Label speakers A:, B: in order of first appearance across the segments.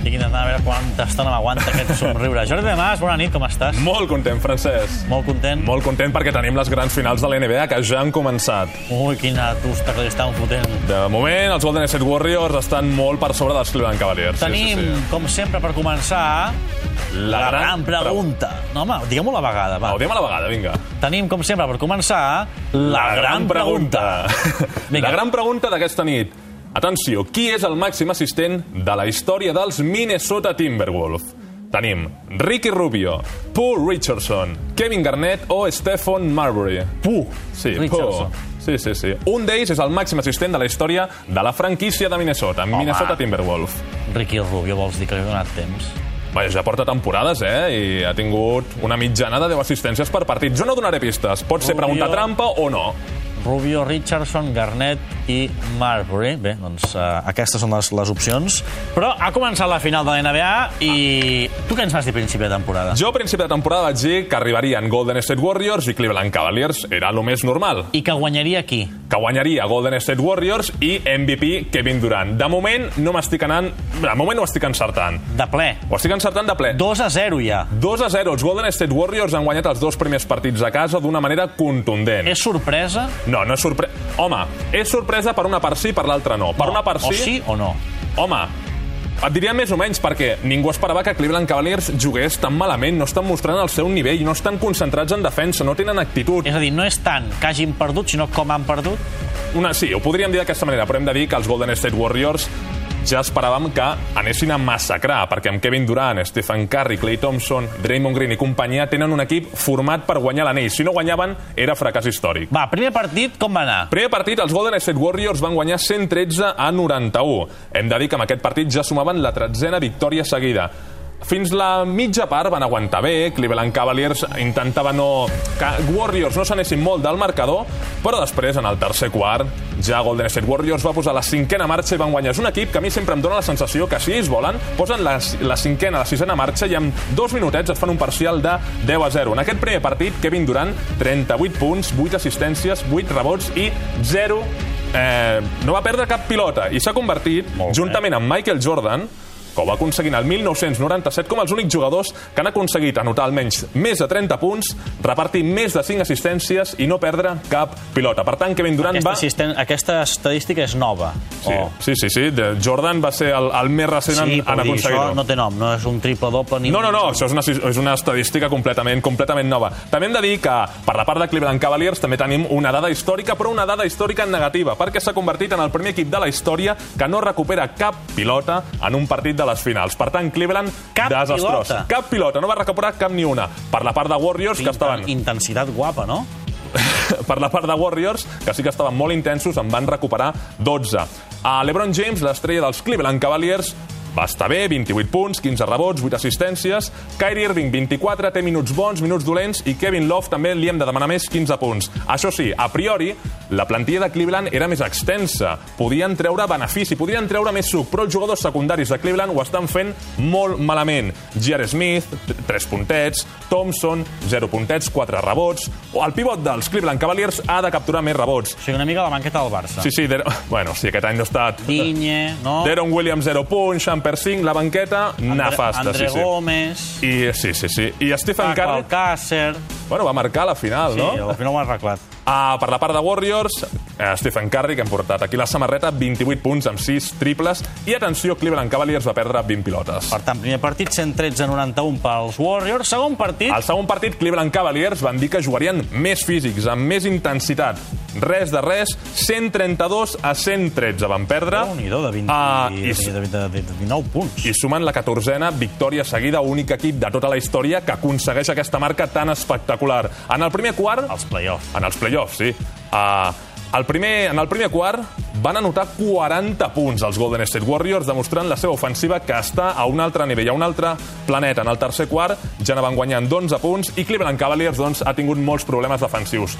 A: Estic intentant veure quanta estona m'aguanta aquest somriure. Jordi de Mas, bona nit, com estàs?
B: Molt content, Francesc.
A: Molt content.
B: Molt content perquè tenim les grans finals de la NBA que ja han començat.
A: Ui, quina tusta que li estan fotent.
B: De moment, els Golden State Warriors estan molt per sobre dels Cleveland Cavaliers.
A: Tenim,
B: Sí, sí,
A: com sempre, per començar,
B: sí.
A: la, gran pregunta. No, home, diguem-ho a la vegada, va.
B: Va, ho diem a la vegada, vinga.
A: Tenim, com sempre, per començar, la, gran pregunta. Vinga.
B: La gran pregunta d'aquesta nit. Atenció, qui és el màxim assistent de la història dels Minnesota Timberwolves? Tenim Ricky Rubio, Paul Richardson, Kevin Garnett o Stephen Marbury.
A: Puh,
B: Sí,
A: Richardson.
B: Poe. Sí, sí, sí. Un d'ells és el màxim assistent de la història de la franquícia de Minnesota, Home. Minnesota Timberwolves.
A: Ricky Rubio, vols dir que li he donat temps?
B: Vaja, ja porta temporades, eh? I ha tingut una mitjana de 10 assistències per partit. Jo no donaré pistes. Pot ser
A: Rubio.
B: pregunta trampa o no.
A: Rubio, Richardson, Garnett i Marbury. Bé, doncs uh, aquestes són les, les opcions. Però ha començat la final de la NBA i... Tu què ens vas dir a principi de temporada?
B: Jo a principi de temporada vaig dir que arribarien Golden State Warriors i Cleveland Cavaliers. Era el més normal.
A: I que guanyaria qui?
B: Que guanyaria Golden State Warriors i MVP Kevin Durant. De moment no m'estic anant... De moment ho estic encertant.
A: De ple.
B: Ho estic encertant de ple.
A: 2 a 0 ja.
B: 2 a 0. Els Golden State Warriors han guanyat els dos primers partits a casa d'una manera contundent.
A: És sorpresa?
B: No, no és sorpresa... Home, és sorpresa per una part sí, per l'altra no. Per
A: No.
B: una part
A: O
B: sí...
A: sí o no?
B: Home, et diria més o menys perquè ningú esperava que Cleveland Cavaliers jugués tan malament, no estan mostrant el seu nivell, no estan concentrats en defensa, no tenen actitud.
A: És a dir, no és tant que hagin perdut, sinó com han perdut.
B: Una, sí, ho podríem dir d'aquesta manera, però hem de dir que els Golden State Warriors ja esperàvem que anessin a massacrar, perquè amb Kevin Durant, Stephen Curry, Clay Thompson, Draymond Green i companyia tenen un equip format per guanyar l'anell. Si no guanyaven, era fracàs històric.
A: Va, primer partit, com va anar?
B: Primer partit, els Golden State Warriors van guanyar 113 a 91. Hem de dir que amb aquest partit ja sumaven la tretzena victòria seguida. Fins la mitja part van aguantar bé, Cleveland Cavaliers intentava no... que Warriors no s'anessin molt del marcador, però després, en el tercer quart, ja Golden State Warriors va posar la cinquena marxa i van guanyar. És un equip que a mi sempre em dóna la sensació que si ells volen, posen la, la cinquena, la sisena marxa i amb dos minutets et fan un parcial de 10 a 0. En aquest primer partit, Kevin Durant, 38 punts, 8 assistències, 8 rebots i 0... Eh, no va perdre cap pilota i s'ha convertit,
A: bé.
B: juntament amb Michael Jordan, que ho va aconseguir el 1997 com els únics jugadors que han aconseguit anotar almenys més de 30 punts, repartir més de 5 assistències i no perdre cap pilota. Per tant, Kevin Durant
A: Aquesta,
B: va...
A: assisten... Aquesta estadística és nova.
B: Sí,
A: O-
B: sí, sí, sí. de- Jordan va ser el, el més recent
A: Oh. Sí,
B: en, en
A: però vull dir, això
B: aconseguir-ho.
A: no té nom, no és un triple-doble ni
B: No,
A: un...
B: no, no, això és una, és una estadística completament completament nova. També hem de dir que, per la part de Cleveland Cavaliers, també tenim una dada històrica, però una dada històrica en negativa, perquè s'ha convertit en el primer equip de la història que no recupera cap pilota en un partit de les finals. Per tant, Cleveland,
A: Cap
B: desastrós.
A: pilota.
B: Cap pilota, no va recuperar cap ni una. Per la part de Warriors, que estaven...
A: Intensitat guapa, no?
B: per la part de Warriors, que sí que estaven molt intensos, en van recuperar 12. A LeBron James, l'estrella dels Cleveland Cavaliers, va estar bé, 28 punts, 15 rebots, 8 assistències. Kyrie Irving, 24, té minuts bons, minuts dolents, i Kevin Love també li hem de demanar més 15 punts. Això sí, a priori, la plantilla de Cleveland era més extensa. Podien treure benefici, podien treure més suc, però els jugadors secundaris de Cleveland ho estan fent molt malament. J.R. Smith, 3 puntets, Thompson, 0 puntets, 4 rebots. O El pivot dels Cleveland Cavaliers ha de capturar més rebots.
A: O sigui, una mica la banqueta del Barça.
B: Sí, sí, Der... bueno, sí, aquest any no ha estat...
A: Dinye, no?
B: Deron Williams, 0 punts, Champer 5, la banqueta, nefasta, sí,
A: André
B: sí.
A: Gómez,
B: I, sí, sí, sí. I Stephen
A: Paco
B: Curry,
A: Alcácer...
B: bueno, va marcar la final,
A: Sí,
B: no?
A: al final ho ha arreglat.
B: Ah, per la part de Warriors, eh, Stephen Curry, que hem portat aquí la samarreta, 28 punts amb 6 triples, i atenció, Cleveland Cavaliers va perdre 20 pilotes.
A: Per tant, primer partit, 113-91 pels Warriors. Segon partit...
B: Al segon partit, Cleveland Cavaliers van dir que jugarien més físics, amb més intensitat. Res de res, 132 a 113 van perdre.
A: Déu-n'hi-do, de, 20,
B: Ah,
A: i...
B: i-
A: de, de, de, de 19 punts.
B: i sumen la 14a victòria seguida, únic equip de tota la història que aconsegueix aquesta marca tan espectacular. En el primer quart...
A: Els play-offs.
B: En els play-offs, sí. Uh, el primer, en el primer quart van anotar 40 punts els Golden State Warriors, demostrant la seva ofensiva que està a un altre nivell, a un altre planeta. En el tercer quart ja n'avan guanyant d'11 punts i Cleveland Cavaliers doncs, ha tingut molts problemes defensius.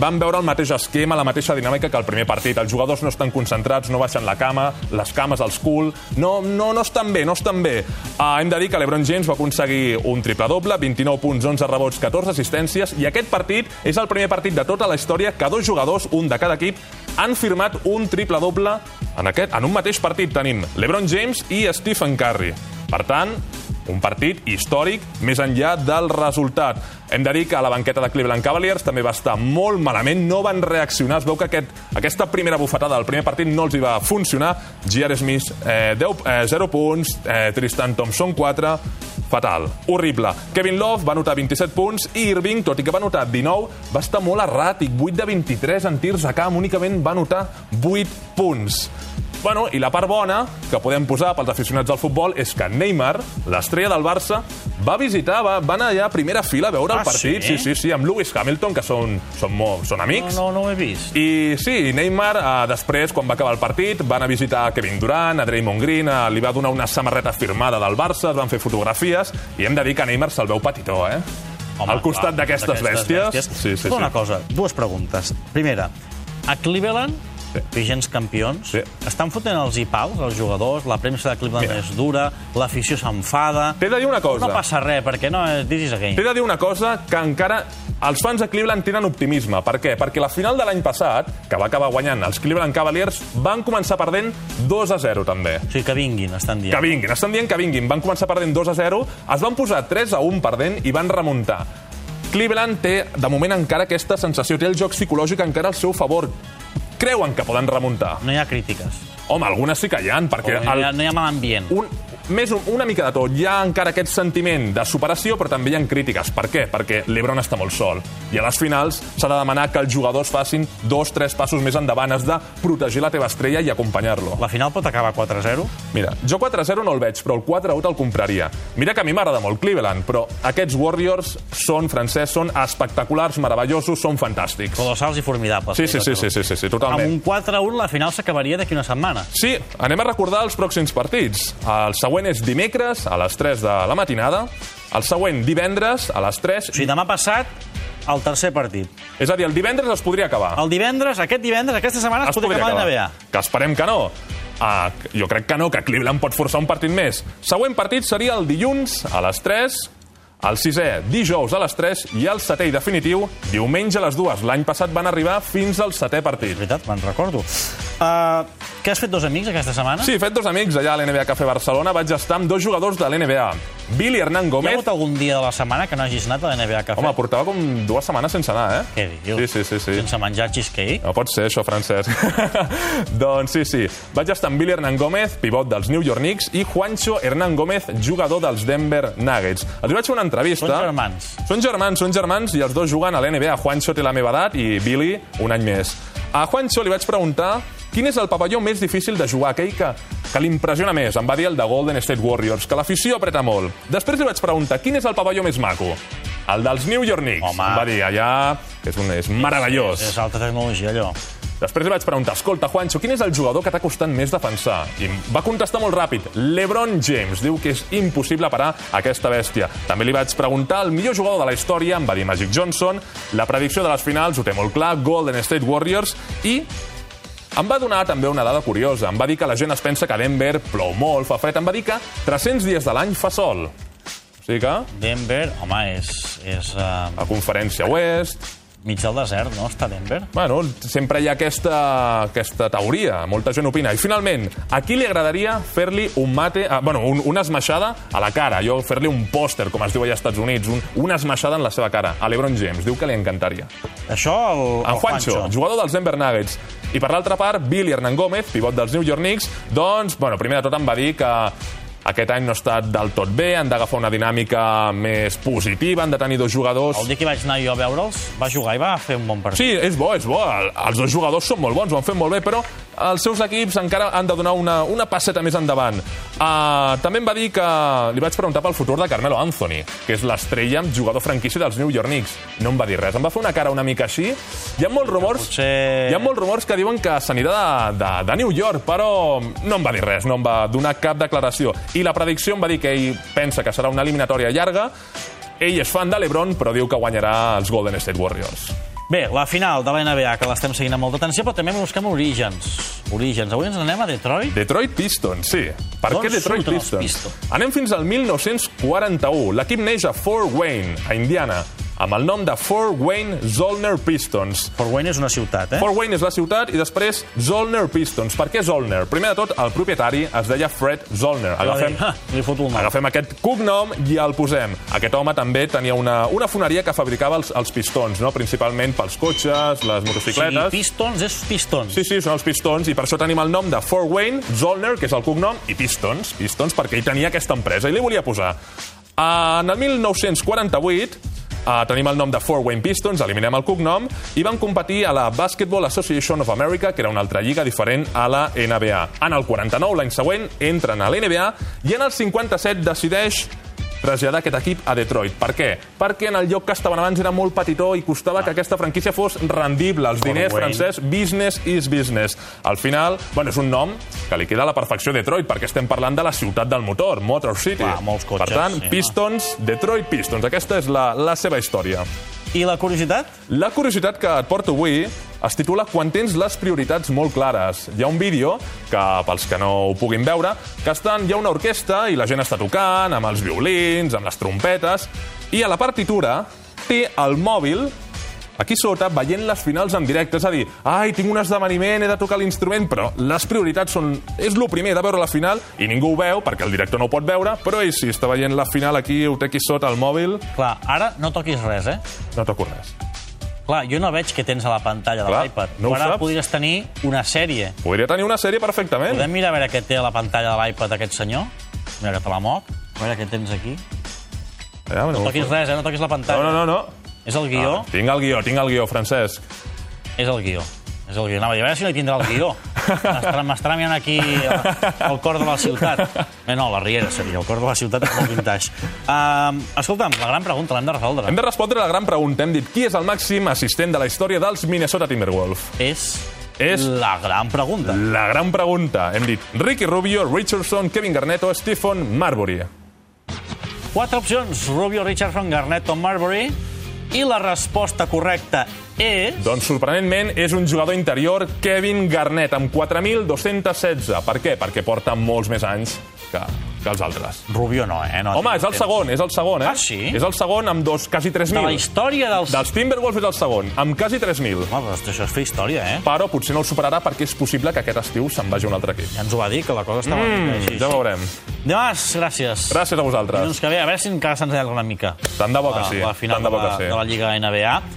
B: Van veure el mateix esquema, la mateixa dinàmica que el primer partit. Els jugadors no estan concentrats, no baixen la cama, les cames als cul... No, no, no estan bé, no estan bé. Uh, hem de dir que l'Ebron James va aconseguir un triple-doble, 29 punts, 11 rebots, 14 assistències, i aquest partit és el primer partit de tota la història que dos jugadors, un de cada equip, han firmat un triple-doble en, aquest, en un mateix partit. Tenim l'Ebron James i Stephen Curry. Per tant, un partit històric més enllà del resultat. Hem de dir que la banqueta de Cleveland Cavaliers també va estar molt malament, no van reaccionar, es veu que aquest, aquesta primera bufetada del primer partit no els hi va funcionar. J.R. Smith, eh, 10, eh, 0 punts, eh, Tristan Thompson, 4, fatal, horrible. Kevin Love va anotar 27 punts i Irving, tot i que va anotar 19, va estar molt erràtic, 8 de 23 en tirs a camp, únicament va anotar 8 punts. Bueno, i la part bona que podem posar pels aficionats del futbol és que Neymar, l'estrella del Barça, va visitar, va, va anar allà a primera fila a veure
A: Ah,
B: el partit,
A: sí?
B: sí, sí, sí amb Lewis Hamilton, que són, són, molt, són amics.
A: No, no, no ho he vist.
B: I sí, Neymar, eh, després, quan va acabar el partit, van a visitar Kevin Durant, a Draymond Green, eh, li va donar una samarreta firmada del Barça, es van fer fotografies, i hem de dir que Neymar se'l veu petitó, eh? Home, al costat d'aquestes bèsties. Sí, sí,
A: Una
B: sí.
A: cosa, dues preguntes. Primera, a Cleveland,
B: Sí.
A: sí. vigents campions,
B: Sí.
A: sí. estan fotent els ipaus, els jugadors, la premsa de Cleveland
B: Mira.
A: és dura, l'afició s'enfada...
B: T'he de dir una cosa.
A: No passa res, perquè no, eh, this is a
B: T'he
A: game.
B: de dir una cosa que encara els fans de Cleveland tenen optimisme. Per què? Perquè la final de l'any passat, que va acabar guanyant els Cleveland Cavaliers, van començar perdent 2 a 0, també.
A: O sigui, que vinguin, estan dient.
B: Que vinguin, estan dient que vinguin. Van començar perdent 2 a 0, es van posar 3 a 1 perdent i van remuntar. Cleveland té, de moment, encara aquesta sensació, té el joc psicològic encara al seu favor. Creuen que poden remuntar.
A: No hi ha crítiques.
B: Home, algunes sí que hi ha, perquè...
A: No hi ha, no hi ha mal ambient.
B: un, més un, una mica de tot. Hi ha encara aquest sentiment de superació, però també hi ha crítiques. Per què? Perquè l'Ebron està molt sol. I a les finals s'ha de demanar que els jugadors facin dos, tres passos més endavant. Has de protegir la teva estrella i acompanyar-lo.
A: La final pot acabar 4-0?
B: Mira, jo 4-0 no el veig, però el 4-1 te'l compraria. Mira que a mi m'agrada molt Cleveland, però aquests Warriors són francès, són espectaculars, meravellosos, són fantàstics.
A: Colossals i formidables.
B: Sí, sí, sí, sí, sí, sí, sí
A: Amb
B: totalment.
A: un 4-1 la final s'acabaria d'aquí una setmana.
B: Sí, anem a recordar els pròxims partits. El següent és dimecres a les 3 de la matinada, el següent divendres a les 3,
A: O sigui, demà passat, el tercer partit.
B: és a dir, el divendres es podria acabar.
A: El divendres, aquest divendres, aquesta setmana Ah, es, es podria acabar la NBA.
B: Que esperem que no. Uh, jo crec que no, que Cleveland pot forçar un partit més. Següent partit seria el dilluns a les 3, el sisè dijous a les 3 i el setè i definitiu diumenge a les 2. L'any passat van arribar fins al setè
A: És
B: partit.
A: veritat, me'n recordo. Uh, que has fet dos amics aquesta setmana?
B: Sí, he fet dos amics allà a l'NBA Cafè Barcelona. Vaig estar amb dos jugadors de l'NBA. Billy Hernán
A: Hi ha
B: Gómez...
A: hagut algun dia de la setmana que no hagis anat a la NBA Cafè?
B: Home, portava com dues setmanes sense anar, eh?
A: Què dius? Doncs-
B: Sí, sí, sí. sí.
A: Sense menjar cheesecake?
B: No pot ser això, Francesc. doncs sí, sí. Vaig estar amb Billy Hernán Gómez, pivot dels New York Knicks, i Juancho Hernán Gómez, jugador dels Denver Nuggets. Els vaig fer una entrevista...
A: Són germans.
B: Són germans, són germans, i els dos juguen a l'NBA. Juancho té la meva edat i Billy un any més. A Juancho li vaig preguntar quin és el pavelló més difícil de jugar, aquell que, que l'impressiona més. Em va dir el de Golden State Warriors, que l'afició apreta molt. Després li vaig preguntar quin és el pavelló més maco. El dels New York Knicks.
A: Home.
B: Em va dir allà que és, un, és meravellós.
A: És alta tecnologia, allò.
B: Després li vaig preguntar, escolta, Juancho, quin és el jugador que t'ha costat més defensar? I em va contestar molt ràpid, LeBron James. Diu que és impossible parar aquesta bèstia. També li vaig preguntar el millor jugador de la història, em va dir Magic Johnson. La predicció de les finals ho té molt clar, Golden State Warriors. I em va donar també una dada curiosa. Em va dir que la gent es pensa que a Denver plou molt, fa fred. Em va dir que 300 dies de l'any fa sol. O sigui que
A: Denver, home, és, és uh,
B: a conferència oest,
A: mig del desert, no? Està Denver.
B: Bueno, sempre hi ha aquesta, aquesta teoria, molta gent opina. I finalment, a qui li agradaria fer-li un mate, ah, bueno, un, una esmaixada a la cara, jo fer-li un pòster, com es diu allà als Estats Units, un, una esmaixada en la seva cara, a l'Ebron James, diu que li encantaria.
A: Això el,
B: En
A: el
B: Juancho, jugador dels Denver Nuggets. I per l'altra part, Billy Hernán Gómez, pivot dels New York Knicks, doncs, bueno, primer de tot em va dir que aquest any no ha estat del tot bé, han d'agafar una dinàmica més positiva, han de tenir dos jugadors...
A: El dia que vaig anar jo a veure'ls, va jugar i va fer un bon partit.
B: Sí, és bo, és bo. El- Els dos jugadors són molt bons, ho han fet molt bé, però els seus equips encara han de donar una, una passeta més endavant. Uh, també em va dir que... Li vaig preguntar pel futur de Carmelo Anthony, que és l'estrella amb jugador franquici dels New York Knicks. No em va dir res. Em va fer una cara una mica així. Hi ha molts rumors...
A: Potser-
B: Hi ha molts rumors que diuen que s'anirà de, de, de New York, però no em va dir res, no em va donar cap declaració. I la predicció em va dir que ell pensa que serà una eliminatòria llarga, ell és fan de l'Ebron, però diu que guanyarà els Golden State Warriors.
A: Bé, la final de la NBA, que l'estem seguint amb molta atenció, però també busquem orígens. Orígens. Avui ens n'anem a Detroit.
B: Detroit Pistons, sí. Per
A: D'on
B: què Detroit
A: surten els
B: Pistons?
A: Pistons?
B: Anem fins al 1941. L'equip neix a Fort Wayne, a Indiana. amb el nom de Fort Wayne Zollner Pistons.
A: Fort Wayne és una ciutat, eh?
B: Fort Wayne és la ciutat i després Zollner Pistons. Per què Zollner? Primer de tot, el propietari es deia Fred Zollner.
A: Va dir,
B: Agafem,
A: "Ah, Li foto un nom.
B: agafem aquest cognom i el posem. Aquest home també tenia una, una foneria que fabricava els, els pistons, no? principalment pels cotxes, les
A: I
B: motocicletes...
A: pistons és pistons.
B: Sí, sí, són els pistons, i per això tenim el nom de Fort Wayne, Zollner, que és el cognom, i pistons, pistons, perquè ell tenia aquesta empresa i li volia posar. En el 1948, Uh, tenim el nom de Fort Wayne Pistons, eliminem el cognom, i van competir a la Basketball Association of America, que era una altra lliga diferent a la NBA. En el 49, l'any següent, entren a la NBA, i en el 57 decideix traslladar aquest equip a Detroit. Per què? Perquè en el lloc que estaven abans era molt petitó i costava que aquesta franquícia fos rendible. Els diners
A: Wayne.
B: francès és business is business. Al final, bueno, és un nom que li queda a la perfecció a Detroit, perquè estem parlant de la ciutat del motor, Motor City.
A: Clar, molts cotxes,
B: per tant,
A: sí, no?
B: Pistons, Detroit Pistons. Aquesta és la, la seva història.
A: I la curiositat?
B: La curiositat que et porto avui es titula Quan tens les prioritats molt clares. Hi ha un vídeo, que pels que no ho puguin veure, que estan, hi ha una orquestra i la gent està tocant, amb els violins, amb les trompetes, i a la partitura té el mòbil aquí sota, veient les finals en directe. És a dir, ai, tinc un esdeveniment, he de tocar l'instrument, però les prioritats són... És el primer de veure la final, i ningú ho veu, perquè el director no ho pot veure, però ell sí, està veient la final aquí, ho té aquí sota, el mòbil,
A: Clar, ara no toquis res, eh?
B: no toco res.
A: Clar, jo no veig què tens a la pantalla de
B: Clar,
A: l'iPad.
B: no ho
A: ara
B: saps.
A: podries tenir una sèrie.
B: Podria tenir una sèrie perfectament.
A: Podem mirar a veure què té a la pantalla de l'iPad aquest senyor? Mira, que te la moc. A veure què tens aquí.
B: Ja, bueno,
A: No toquis res, eh? No toquis la
B: No,
A: pantalla.
B: no, no, no.
A: És el guió,
B: Ah, tinc el guió, tinc el guió, Francesc.
A: és el guió. És el guió. Anava a dir, a veure si no hi tindrà el guió. M'estarà- M'estarà mirant aquí el, el cor de la ciutat. Bé, no, la Riera seria. El cor de la ciutat és molt vintage. Um, escolta'm, la gran pregunta l'hem de resoldre.
B: Hem de respondre a la gran pregunta. Hem dit qui és el màxim assistent de la història dels Minnesota Timberwolves.
A: És,
B: És-
A: la gran pregunta.
B: La gran pregunta. Hem dit Ricky Rubio, Richardson, Kevin Garnett o Stephen Marbury.
A: Quatre opcions. Rubio, Richardson, Garnett, Tom Marbury. I la resposta correcta és...
B: Doncs, sorprenentment, és un jugador interior, Kevin Garnett, amb 4.216. Per què? Perquè porta molts més anys que, que els altres.
A: Rubio no, eh? No,
B: Home, és el segon, és el segon, eh?
A: Ah, sí?
B: És el segon amb dos, quasi
A: De la
B: 3.000.
A: història dels...
B: Dels Timberwolves és el segon, amb quasi 3.000.
A: Home, però això és fer història, eh?
B: però potser no el superarà perquè és possible que aquest estiu se'n vagi a un altre equip.
A: Ja ens ho va dir, que la cosa estava... Mm,
B: Ja veurem.
A: Demàs, gràcies.
B: Gràcies a vosaltres.
A: Doncs que bé, a veure si encara se'ns allarga una mica.
B: Tant de bo que
A: la,
B: sí.
A: la final
B: Tant de
A: de
B: bo
A: la,
B: que sí.
A: de la Lliga NBA.